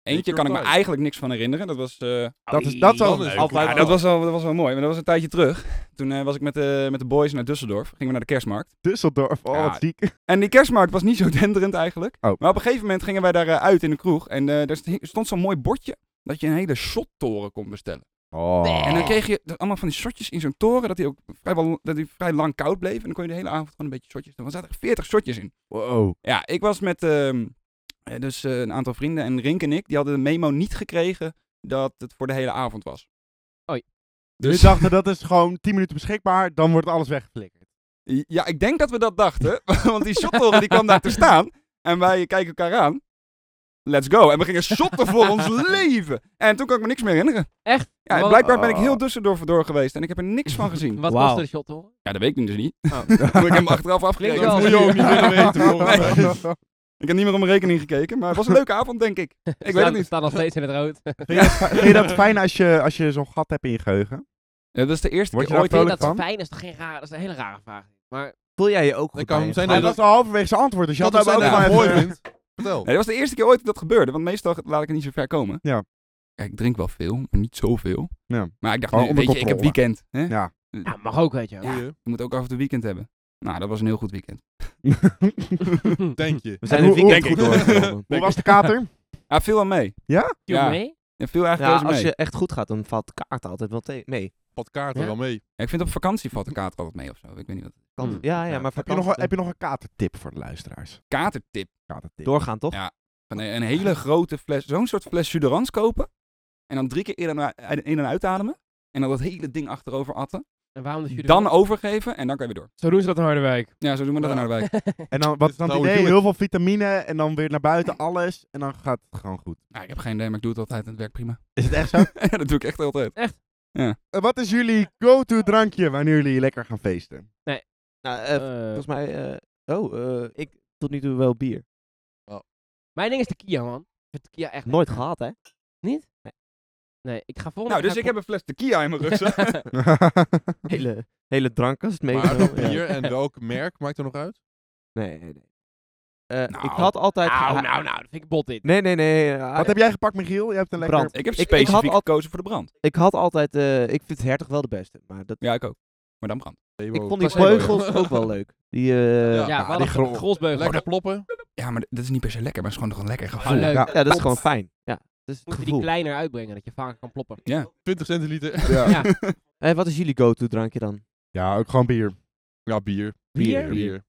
[SPEAKER 5] Eentje kan ik me
[SPEAKER 4] Tijd.
[SPEAKER 5] eigenlijk niks van herinneren. Dat was, eh,
[SPEAKER 2] Dat is, dat is al
[SPEAKER 4] Dan is het
[SPEAKER 3] Altijd
[SPEAKER 5] ja,
[SPEAKER 4] goed.
[SPEAKER 5] dat was, wel, dat was wel mooi, maar dat was een tijdje terug. Toen eh, was ik met de, met de boys naar Düsseldorf. Gingen we naar de kerstmarkt.
[SPEAKER 2] Düsseldorf, oh
[SPEAKER 5] Ja.
[SPEAKER 2] wat ziek.
[SPEAKER 5] En die kerstmarkt was niet zo denderend eigenlijk.
[SPEAKER 2] Oh.
[SPEAKER 5] Maar op een gegeven moment gingen wij daar eh, uit in de kroeg. En eh, daar st- stond zo'n mooi bordje dat je een hele shottoren kon bestellen.
[SPEAKER 2] Oh.
[SPEAKER 5] En dan kreeg je d- allemaal van die shotjes in zo'n toren, dat die ook vrijwel, dat die vrij lang koud bleef. En dan kon je de hele avond gewoon een beetje shotjes doen. Er zaten echt 40 shotjes in.
[SPEAKER 2] Wow.
[SPEAKER 5] Ja, ik was met ehm, eh, dus eh, een aantal vrienden en Rink en ik, die hadden de memo niet gekregen dat het voor de hele avond was.
[SPEAKER 1] Oei.
[SPEAKER 2] Dus...
[SPEAKER 5] Dus
[SPEAKER 2] We dachten dat is gewoon 10 minuten beschikbaar, dan wordt alles weggeflikkerd.
[SPEAKER 5] ja, ik denk dat we dat dachten, want die shottoren die kwam daar te staan en wij kijken elkaar aan. Let's go. En we gingen shotten voor ons leven. En toen kan ik me niks meer herinneren.
[SPEAKER 1] Echt?
[SPEAKER 5] Ja,
[SPEAKER 1] Wat-
[SPEAKER 5] blijkbaar ben ik heel Düsseldorf door geweest en ik heb er niks van gezien.
[SPEAKER 1] Wat
[SPEAKER 3] Wauw.
[SPEAKER 1] kostte de shot, hoor?
[SPEAKER 5] Ja, dat weet ik dus niet.
[SPEAKER 1] Oh.
[SPEAKER 5] ik heb hem achteraf afgerekend.
[SPEAKER 1] Klinkt wel.
[SPEAKER 4] Moet je ook niet willen weten. volgens mij.
[SPEAKER 5] Ik heb niet meer om mijn rekening gekeken, maar het was een leuke avond, denk ik. Ik weet het niet.
[SPEAKER 1] staan nog steeds in het rood.
[SPEAKER 2] Vind je dat fijn als je, als je zo'n gat hebt in je geheugen?
[SPEAKER 5] Ja, dat is de eerste
[SPEAKER 2] Word je
[SPEAKER 5] keer ooit.
[SPEAKER 2] daar
[SPEAKER 1] Vind je dat
[SPEAKER 2] vrolijk
[SPEAKER 1] zo
[SPEAKER 2] van?
[SPEAKER 1] fijn? Dat is toch geen rare, dat is een hele rare vraag. Maar
[SPEAKER 3] Voel jij je ook goed
[SPEAKER 4] kan
[SPEAKER 3] bij je?
[SPEAKER 4] zijn
[SPEAKER 2] Hij
[SPEAKER 4] dat-
[SPEAKER 2] was al halverwege zijn antwoord, dus je
[SPEAKER 4] Dat
[SPEAKER 2] had
[SPEAKER 4] is
[SPEAKER 2] hem ook
[SPEAKER 4] nou
[SPEAKER 2] maar
[SPEAKER 4] mooi
[SPEAKER 2] even-
[SPEAKER 4] vindt. Vertel.
[SPEAKER 5] Nee, dat was de eerste keer ooit dat dat gebeurde, want meestal laat ik het niet zo ver komen.
[SPEAKER 2] Ja.
[SPEAKER 5] Kijk, ik drink wel veel, maar niet zoveel.
[SPEAKER 2] Ja.
[SPEAKER 5] Maar ik dacht,
[SPEAKER 2] Gewoon
[SPEAKER 5] nu,
[SPEAKER 2] onder
[SPEAKER 5] weet je, ik heb
[SPEAKER 2] controle.
[SPEAKER 5] weekend. Hè?
[SPEAKER 2] Ja.
[SPEAKER 1] ja, mag ook, weet je. wel.
[SPEAKER 4] Goeie.
[SPEAKER 5] Je moet ook af en toe weekend hebben. Nou, dat was een heel goed weekend.
[SPEAKER 4] Denk je.
[SPEAKER 3] We zijn
[SPEAKER 2] Hoe-
[SPEAKER 3] een weekend
[SPEAKER 2] hoe-
[SPEAKER 3] goed doorgekomen.
[SPEAKER 2] Hoe was de kater?
[SPEAKER 5] Ah, veel aan mee.
[SPEAKER 2] Ja?
[SPEAKER 1] Doe
[SPEAKER 5] Ja.
[SPEAKER 1] mee.
[SPEAKER 5] Ja, veel eigenlijk
[SPEAKER 3] Ja,
[SPEAKER 5] reuze
[SPEAKER 3] als
[SPEAKER 5] mee.
[SPEAKER 3] je echt goed gaat, dan valt de kaart altijd wel te- mee.
[SPEAKER 4] Wat kaarten
[SPEAKER 1] Ja.
[SPEAKER 4] wel mee.
[SPEAKER 5] Ja, ik vind op vakantie valt de kater altijd mee of zo. Ik weet niet wat.
[SPEAKER 3] Kan-
[SPEAKER 1] Hmm.
[SPEAKER 3] Ja, ja,
[SPEAKER 5] Ja.
[SPEAKER 3] maar
[SPEAKER 2] Heb je, nog,
[SPEAKER 3] vakantie-
[SPEAKER 2] een- heb je nog een katertip voor de luisteraars?
[SPEAKER 5] Katertip.
[SPEAKER 2] Katertip.
[SPEAKER 3] doorgaan, toch?
[SPEAKER 5] Ja. Van een, een hele grote fles, zo'n soort fles Suderans kopen. En dan drie keer in en, in en uitademen. En dan dat hele ding achterover atten.
[SPEAKER 1] En waarom de jury-
[SPEAKER 5] Dan overgeven en dan kan je weer door.
[SPEAKER 1] Zo doen ze dat in Harderwijk.
[SPEAKER 5] Ja, zo doen we dat
[SPEAKER 4] Ja.
[SPEAKER 5] in Harderwijk.
[SPEAKER 2] En dan, wat is dan het
[SPEAKER 4] Nou,
[SPEAKER 2] idee?
[SPEAKER 4] doe het.
[SPEAKER 2] Heel veel vitamine en dan weer naar buiten alles. En dan gaat het gewoon goed.
[SPEAKER 5] Nou, ik heb geen idee, maar ik doe het altijd en het werkt prima.
[SPEAKER 2] Is het echt zo?
[SPEAKER 5] Ja, dat doe ik echt altijd.
[SPEAKER 2] Eh, wat is jullie go-to drankje wanneer jullie lekker gaan feesten?
[SPEAKER 3] Nou, eh,
[SPEAKER 1] Eh,
[SPEAKER 3] volgens mij... eh, oh, eh, ik tot nu toe wel bier.
[SPEAKER 1] mijn ding is de Kia, man. Ik vind de Kia echt...
[SPEAKER 3] Nooit gehad, hè?
[SPEAKER 1] Nee, ik ga volgende
[SPEAKER 5] Nou,
[SPEAKER 1] keer
[SPEAKER 5] dus ik
[SPEAKER 1] ga
[SPEAKER 5] heb een fles tequila in mijn rugzak.
[SPEAKER 3] Hele, hele drankkast mee.
[SPEAKER 4] Maar bier en welk merk maakt er nog uit?
[SPEAKER 3] Nee, nee, nee. eh,
[SPEAKER 5] Nou,
[SPEAKER 3] ik had altijd...
[SPEAKER 1] Nou, nou, nou, dat vind ik bot dit.
[SPEAKER 3] Nee, nee, nee. eh,
[SPEAKER 2] Wat heb jij gepakt, Michiel? Je hebt een lekker...
[SPEAKER 3] Brand.
[SPEAKER 5] Ik heb
[SPEAKER 3] Ik- ik had
[SPEAKER 5] specifiek
[SPEAKER 3] al-
[SPEAKER 5] gekozen voor de brand.
[SPEAKER 3] Ik had altijd... eh, ik vind hertog wel de beste. Maar dat,
[SPEAKER 5] Ja, ik ook. Maar dan brand.
[SPEAKER 3] ik vond die
[SPEAKER 4] placebo, ja.
[SPEAKER 3] vleugels ook wel leuk. Die, eh,
[SPEAKER 4] Ja.
[SPEAKER 3] ja.
[SPEAKER 1] Ja,
[SPEAKER 4] Ah,
[SPEAKER 1] wel
[SPEAKER 4] die
[SPEAKER 1] een
[SPEAKER 4] grol.
[SPEAKER 1] grolsbeugel.
[SPEAKER 2] Oh,
[SPEAKER 4] Lekker ploppen.
[SPEAKER 5] Ja, maar d- dat is niet per se lekker, maar het is gewoon toch een lekker
[SPEAKER 1] Ah,
[SPEAKER 5] gevoel.
[SPEAKER 1] leuk.
[SPEAKER 2] Ja.
[SPEAKER 3] dat is gewoon fijn. Ja, dat is het
[SPEAKER 1] Moet je die
[SPEAKER 3] gevoel.
[SPEAKER 1] kleiner uitbrengen, dat je vaker kan ploppen.
[SPEAKER 4] 20 centiliter.
[SPEAKER 2] Ja.
[SPEAKER 1] Ja.
[SPEAKER 3] Eh, wat is jullie go-to drankje dan?
[SPEAKER 2] Ja, ook gewoon bier.
[SPEAKER 4] Ja, bier.
[SPEAKER 1] Bier?
[SPEAKER 4] Bier.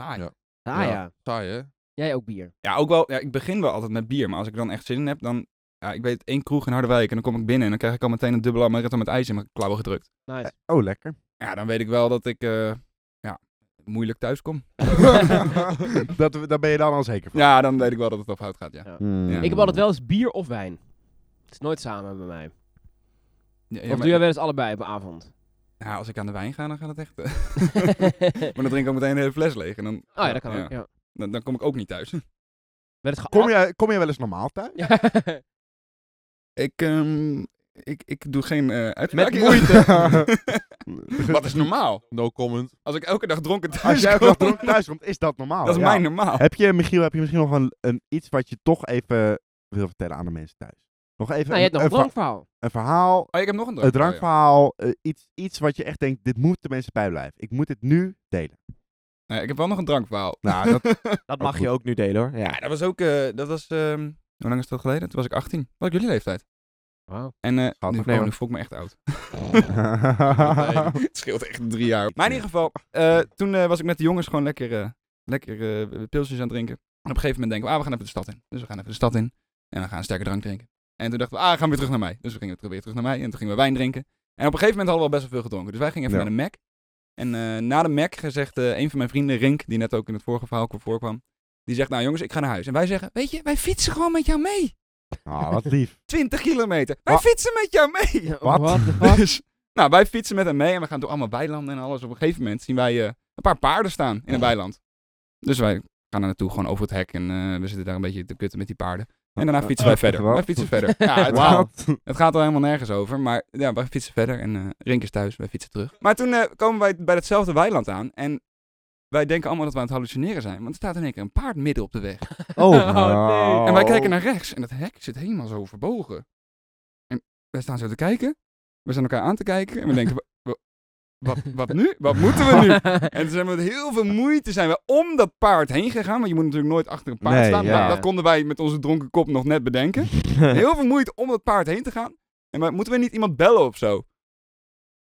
[SPEAKER 5] Saai.
[SPEAKER 4] Ja.
[SPEAKER 1] Ah ja.
[SPEAKER 4] Saai, hè?
[SPEAKER 1] Jij ook bier.
[SPEAKER 5] Ja, ook wel. Ja, ik begin wel altijd met bier, maar als ik dan echt zin in heb, dan... Ja, ik weet één kroeg in Harderwijk en dan kom ik binnen en dan krijg ik al meteen een dubbele amaretto met ijs in mijn klauwen gedrukt.
[SPEAKER 1] Nice.
[SPEAKER 2] Oh, lekker.
[SPEAKER 5] Ja, dan weet ik wel dat ik, eh, ja, moeilijk thuis kom.
[SPEAKER 2] dat, daar ben je dan al zeker van.
[SPEAKER 5] Ja, dan weet ik wel dat het op hout gaat, ja.
[SPEAKER 1] Ik heb altijd wel eens bier of wijn. Het is nooit samen bij mij.
[SPEAKER 5] Ja, ja,
[SPEAKER 1] Of
[SPEAKER 5] maar-
[SPEAKER 1] doe jij wel eens allebei op avond?
[SPEAKER 5] Nou, als ik aan de wijn ga, dan gaat het echt... eh, maar dan drink ik ook meteen een hele fles leeg en dan,
[SPEAKER 1] oh ja, dat kan ook. Ja.
[SPEAKER 5] dan, dan kom ik ook niet thuis.
[SPEAKER 1] Werd het Ah,
[SPEAKER 2] Kom je, kom je wel eens normaal thuis?
[SPEAKER 1] je?
[SPEAKER 5] Ik, ehm, ik, ik doe geen eh uitspraak. Wat is normaal?
[SPEAKER 4] No comment.
[SPEAKER 5] Als ik elke dag dronken thuis
[SPEAKER 2] Als jij ook
[SPEAKER 5] kom,
[SPEAKER 2] wel dronken thuis komt, is dat normaal.
[SPEAKER 5] dat is
[SPEAKER 2] ja.
[SPEAKER 5] mijn normaal.
[SPEAKER 2] Heb je, Michiel, heb je misschien nog een, een iets wat je toch even wil vertellen aan de mensen thuis? Nog even
[SPEAKER 1] nou, je
[SPEAKER 2] een,
[SPEAKER 1] hebt nog een
[SPEAKER 2] een ver-
[SPEAKER 1] drankverhaal.
[SPEAKER 2] een verhaal,
[SPEAKER 5] Oh, ik heb nog een
[SPEAKER 2] een
[SPEAKER 5] drankje.
[SPEAKER 2] drankverhaal, eh, iets, iets wat je echt denkt, dit moet de mensen bijblijven. Ik moet dit nu delen.
[SPEAKER 5] Nee, ik heb wel nog een drankverhaal.
[SPEAKER 2] Nou, dat,
[SPEAKER 3] Dat
[SPEAKER 2] mag
[SPEAKER 3] mag
[SPEAKER 2] je
[SPEAKER 3] je ook nu delen hoor.
[SPEAKER 5] Ja, dat was ook... eh, dat was, ehm, hoe lang is dat geleden? Toen was ik 18. Wat was jullie leeftijd.
[SPEAKER 1] Wauw.
[SPEAKER 5] En eh,
[SPEAKER 2] Schat,
[SPEAKER 5] nu,
[SPEAKER 2] of nee,
[SPEAKER 5] oh,
[SPEAKER 2] hoor.
[SPEAKER 5] nu voel ik me echt oud. het scheelt echt drie jaar. Maar in ieder geval, eh, toen eh, was ik met de jongens gewoon lekker, eh lekker eh, pilsjes aan het drinken. En op een gegeven moment denken we, ah, we gaan even de stad in. Dus we gaan even de stad in. En we gaan een sterke drank drinken. En toen dachten we, ah, we gaan weer terug naar mij. Dus we gingen ter- weer terug naar mij. En toen gingen we wijn drinken. En op een gegeven moment hadden we al best wel veel gedronken. Dus wij gingen even
[SPEAKER 2] Ja.
[SPEAKER 5] naar de Mac. En eh, na de Mac gezegd, eh, een van mijn vrienden, Rink, die net ook in het vorige verhaal voorkwam. Die zegt, nou jongens, ik ga naar huis. En wij zeggen, weet je, wij fietsen gewoon met jou mee.
[SPEAKER 2] Ah, wat lief.
[SPEAKER 5] 20 kilometer. Wij
[SPEAKER 2] Wa-
[SPEAKER 5] fietsen met jou mee.
[SPEAKER 2] Wat?
[SPEAKER 1] the fuck?
[SPEAKER 5] Dus, nou, wij fietsen met hem mee en we gaan door allemaal weilanden en alles. Op een gegeven moment zien wij eh, een paar paarden staan in een weiland. Dus wij gaan daar naartoe, gewoon over het hek. En eh, we zitten daar een beetje te kutten met die paarden. En daarna fietsen wij
[SPEAKER 2] Oh,
[SPEAKER 5] verder.
[SPEAKER 2] wat?
[SPEAKER 5] Wij fietsen verder. Ja, het,
[SPEAKER 2] Wauw.
[SPEAKER 5] gaat, het gaat er helemaal nergens over. Maar ja, wij fietsen verder en eh Rink is thuis. Wij fietsen terug. Maar toen eh, komen wij bij hetzelfde weiland aan. En wij denken allemaal dat we aan het hallucineren zijn. Want er staat in één keer een paard midden op de weg.
[SPEAKER 2] Oh,
[SPEAKER 1] nee.
[SPEAKER 5] En wij kijken naar rechts en dat hek zit helemaal zo verbogen. En wij staan zo te kijken. We staan elkaar aan te kijken en we denken, wa- wa- wat, wat nu? Wat moeten we nu? En toen zijn we met heel veel moeite zijn we om dat paard heen gegaan. Want je moet natuurlijk nooit achter een paard
[SPEAKER 2] Nee,
[SPEAKER 5] staan.
[SPEAKER 2] ja.
[SPEAKER 5] Nou, dat konden wij met onze dronken kop nog net bedenken. Heel veel moeite om dat paard heen te gaan. En wij- moeten we niet iemand bellen of zo?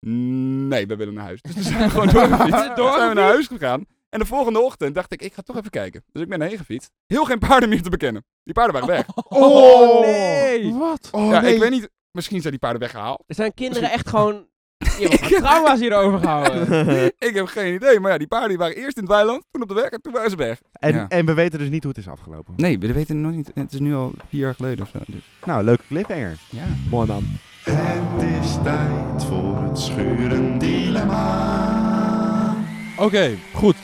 [SPEAKER 5] Nee, we willen naar huis. Dus toen zijn we gewoon doorgefietst. Toen zijn we naar huis gegaan. En de volgende ochtend dacht ik, ik ga toch even kijken. Dus ik ben heen gefietst. Heel geen paarden meer te bekennen. Die paarden waren weg.
[SPEAKER 2] Oh,
[SPEAKER 1] nee.
[SPEAKER 2] Wat? Oh,
[SPEAKER 5] ja,
[SPEAKER 2] nee.
[SPEAKER 5] ik weet niet. Misschien zijn die paarden weggehaald.
[SPEAKER 1] Er zijn kinderen echt gewoon... Je hebt trauma's hierover gehouden.
[SPEAKER 5] Ik heb geen idee. Maar ja, die paarden die waren eerst in het weiland, toen op de weg en toen waren ze weg.
[SPEAKER 2] En,
[SPEAKER 5] Ja.
[SPEAKER 2] en we weten dus niet hoe het is afgelopen.
[SPEAKER 5] Nee, we weten het nog niet. Het is nu al vier jaar geleden of zo. dus.
[SPEAKER 2] Nou, leuke cliffhanger.
[SPEAKER 5] ja.
[SPEAKER 3] Mooi man.
[SPEAKER 6] Het is tijd voor het schuren dilemma.
[SPEAKER 4] Oké, goed.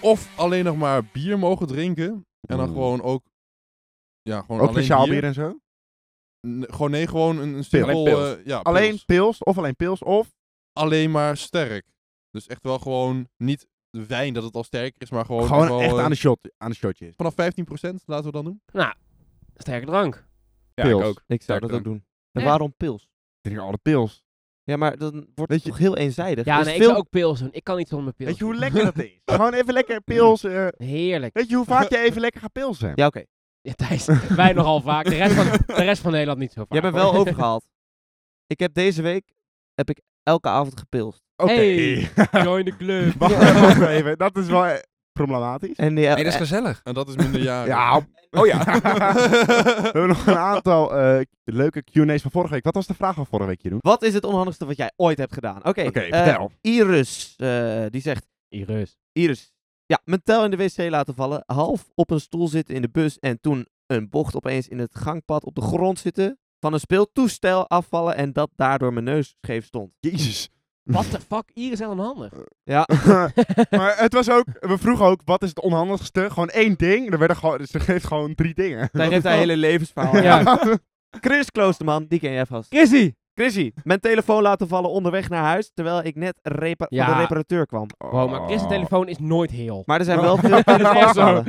[SPEAKER 4] Of alleen nog maar bier mogen drinken. En dan
[SPEAKER 2] Mm.
[SPEAKER 4] gewoon ook... Ja, gewoon
[SPEAKER 2] Ook
[SPEAKER 4] alleen
[SPEAKER 2] speciaal bier en zo?
[SPEAKER 4] N- gewoon nee, gewoon een, een
[SPEAKER 2] Pils.
[SPEAKER 4] simpel...
[SPEAKER 5] Alleen pils.
[SPEAKER 4] eh, ja,
[SPEAKER 2] Alleen
[SPEAKER 4] pils.
[SPEAKER 2] pils of alleen pils of...
[SPEAKER 4] Alleen maar sterk. Dus echt wel gewoon niet de wijn dat het al sterk is, maar gewoon...
[SPEAKER 2] Gewoon
[SPEAKER 4] wel,
[SPEAKER 2] echt
[SPEAKER 4] eh,
[SPEAKER 2] aan de, shot, aan de shotje is.
[SPEAKER 4] Vanaf 15% laten we dan doen.
[SPEAKER 1] Sterke drank.
[SPEAKER 5] Ja,
[SPEAKER 2] Pils.
[SPEAKER 5] ik ook.
[SPEAKER 3] Ik zou
[SPEAKER 5] Sterk
[SPEAKER 3] dat
[SPEAKER 5] dan.
[SPEAKER 3] ook doen. En
[SPEAKER 1] Ja.
[SPEAKER 3] waarom pils?
[SPEAKER 2] Ik drink alle pils.
[SPEAKER 3] Ja, maar dan wordt
[SPEAKER 2] Weet
[SPEAKER 3] het
[SPEAKER 2] je-
[SPEAKER 3] toch heel eenzijdig.
[SPEAKER 1] Ja,
[SPEAKER 3] Dus
[SPEAKER 1] nee, ik
[SPEAKER 3] veel-
[SPEAKER 1] zou ook pils doen. Ik kan niet zonder mijn pils.
[SPEAKER 2] Weet je hoe lekker dat is? Gewoon even lekker pils. eh,
[SPEAKER 1] Heerlijk.
[SPEAKER 2] weet je hoe vaak je even lekker gaat pilsen?
[SPEAKER 3] Ja, oké.
[SPEAKER 1] Ja, Thijs, wij nogal vaak. De rest, van, de rest van Nederland niet zo vaak.
[SPEAKER 3] Jij bent wel overgehaald. Ik heb deze week heb ik elke avond gepilst.
[SPEAKER 2] Oké.
[SPEAKER 1] Hey. Join the club.
[SPEAKER 2] Wacht even, wacht even. Dat is wel eh, problematisch.
[SPEAKER 3] En eh, die,
[SPEAKER 5] Nee, dat is gezellig.
[SPEAKER 4] En dat is minder jaren.
[SPEAKER 2] Ja.
[SPEAKER 5] Oh ja.
[SPEAKER 2] We hebben nog een aantal eh, leuke Q&A's van vorige week. Wat was de vraag van vorige week, Jeroen?
[SPEAKER 3] Wat is het onhandigste wat jij ooit hebt gedaan? Oké,
[SPEAKER 2] Oké,
[SPEAKER 3] eh,
[SPEAKER 2] vertel.
[SPEAKER 3] Iris, eh, die zegt...
[SPEAKER 1] Iris.
[SPEAKER 3] Iris, ja, mijn tel in de wc laten vallen, half op een stoel zitten in de bus en toen een bocht opeens in het gangpad op de grond zitten, van een speeltoestel afvallen en dat daardoor mijn neus scheef stond.
[SPEAKER 2] Jezus.
[SPEAKER 1] What the fuck? Iris is onhandig.
[SPEAKER 3] Ja,
[SPEAKER 2] maar het was ook, we vroegen ook, wat is het onhandigste? Gewoon één ding. En Er werden gewoon, ze geeft gewoon drie dingen.
[SPEAKER 3] daar heeft haar hele levensverhaal aan.
[SPEAKER 1] Ja.
[SPEAKER 3] Chris Kloosterman, die ken jij vast.
[SPEAKER 1] Chrissy!
[SPEAKER 3] Chrissy, mijn telefoon laten vallen onderweg naar huis, terwijl ik net repa-
[SPEAKER 1] Ja.
[SPEAKER 3] van de reparateur kwam.
[SPEAKER 1] Wow,
[SPEAKER 2] Oh.
[SPEAKER 1] maar Chris' telefoon is nooit heel.
[SPEAKER 3] Oh. Maar er zijn wel veel telefoons
[SPEAKER 1] Zo.
[SPEAKER 3] gevallen.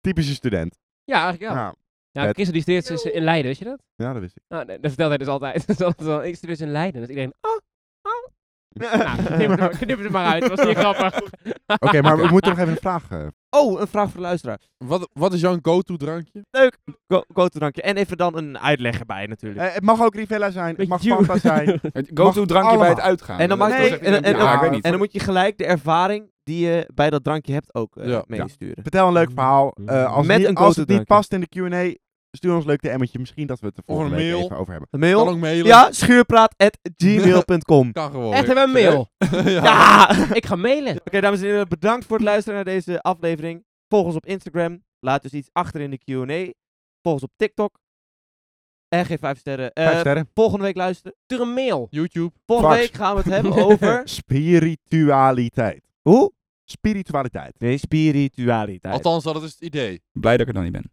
[SPEAKER 2] Typische student.
[SPEAKER 1] Ja, eigenlijk wel.
[SPEAKER 2] Ja.
[SPEAKER 1] Ja,
[SPEAKER 2] vet.
[SPEAKER 1] Chris die studeert dus in Leiden, weet je dat?
[SPEAKER 2] ja, dat wist ik.
[SPEAKER 1] Ah, nee, dat vertelt hij dus altijd. Dat is altijd wel, ik studeer dus in Leiden. Dus iedereen, ah, nou, knip het, maar- knip het er maar uit. was niet grappig.
[SPEAKER 2] Oké, maar we moeten nog even een vraag. eh,
[SPEAKER 3] Oh, een vraag voor de luisteraar.
[SPEAKER 4] Wat, wat is jouw go-to drankje?
[SPEAKER 3] Leuk. Go, go to drankje. En even dan een uitleg erbij natuurlijk.
[SPEAKER 2] eh, het mag ook Rivella zijn, het
[SPEAKER 1] Met
[SPEAKER 2] mag
[SPEAKER 1] you.
[SPEAKER 2] Fanta zijn.
[SPEAKER 5] Het Go-to drankje
[SPEAKER 2] Mag
[SPEAKER 5] bij het
[SPEAKER 2] allemaal.
[SPEAKER 5] uitgaan.
[SPEAKER 3] en dan,
[SPEAKER 5] Dat-
[SPEAKER 3] maakt het
[SPEAKER 5] dat zeg
[SPEAKER 3] ook-
[SPEAKER 5] ik
[SPEAKER 3] en, en,
[SPEAKER 5] dan-
[SPEAKER 3] en,
[SPEAKER 5] ja, ik weet niet.
[SPEAKER 3] en dan moet je gelijk de ervaring die je bij dat drankje hebt ook eh,
[SPEAKER 4] Ja.
[SPEAKER 3] meesturen.
[SPEAKER 2] Vertel een leuk verhaal. Eh, als
[SPEAKER 3] Met
[SPEAKER 2] niet-
[SPEAKER 3] een
[SPEAKER 2] als
[SPEAKER 3] go-to
[SPEAKER 2] het niet
[SPEAKER 3] drankje.
[SPEAKER 2] past in de Q&A, stuur ons leuk de emmetje. Misschien dat we het er
[SPEAKER 4] Of
[SPEAKER 2] volgende
[SPEAKER 4] een
[SPEAKER 2] week
[SPEAKER 4] mail.
[SPEAKER 2] even over hebben.
[SPEAKER 3] De
[SPEAKER 4] Kan
[SPEAKER 3] mail?
[SPEAKER 4] ook mailen.
[SPEAKER 3] Ja, schuurpraat.gmail.com.
[SPEAKER 4] Kan gewoon. Eh,
[SPEAKER 1] Echt hebben we een mail.
[SPEAKER 4] ja.
[SPEAKER 3] Ja!
[SPEAKER 1] Ik ga mailen.
[SPEAKER 3] Oké, dames en heren, bedankt voor het luisteren naar deze aflevering. Volg ons op Instagram. Laat dus iets achter in de Q&A. Volg ons op TikTok. En geef vijf sterren. Eh,
[SPEAKER 2] Vijf sterren.
[SPEAKER 3] Volgende week luisteren.
[SPEAKER 1] Stuur een mail.
[SPEAKER 4] YouTube.
[SPEAKER 3] Volgende
[SPEAKER 2] Fax.
[SPEAKER 3] week gaan we het hebben
[SPEAKER 1] eh,
[SPEAKER 3] over...
[SPEAKER 2] Spiritualiteit.
[SPEAKER 3] Hoe?
[SPEAKER 2] Spiritualiteit.
[SPEAKER 3] Nee, spiritualiteit.
[SPEAKER 4] Althans, dat is het idee.
[SPEAKER 5] Blij dat ik er dan niet ben.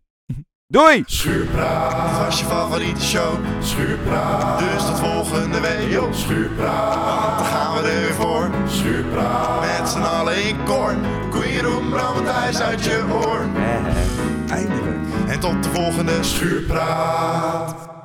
[SPEAKER 5] Doei!
[SPEAKER 6] Schuurpraat was je favoriete show. Schuurpraat, dus tot volgende week. Yo, schuurpraat, want dan gaan we er weer voor. Schuurpraat, met z'n allen in koor. Koeien roem, thuis uit Eh, je oor. Eindelijk. En tot de volgende schuurpraat.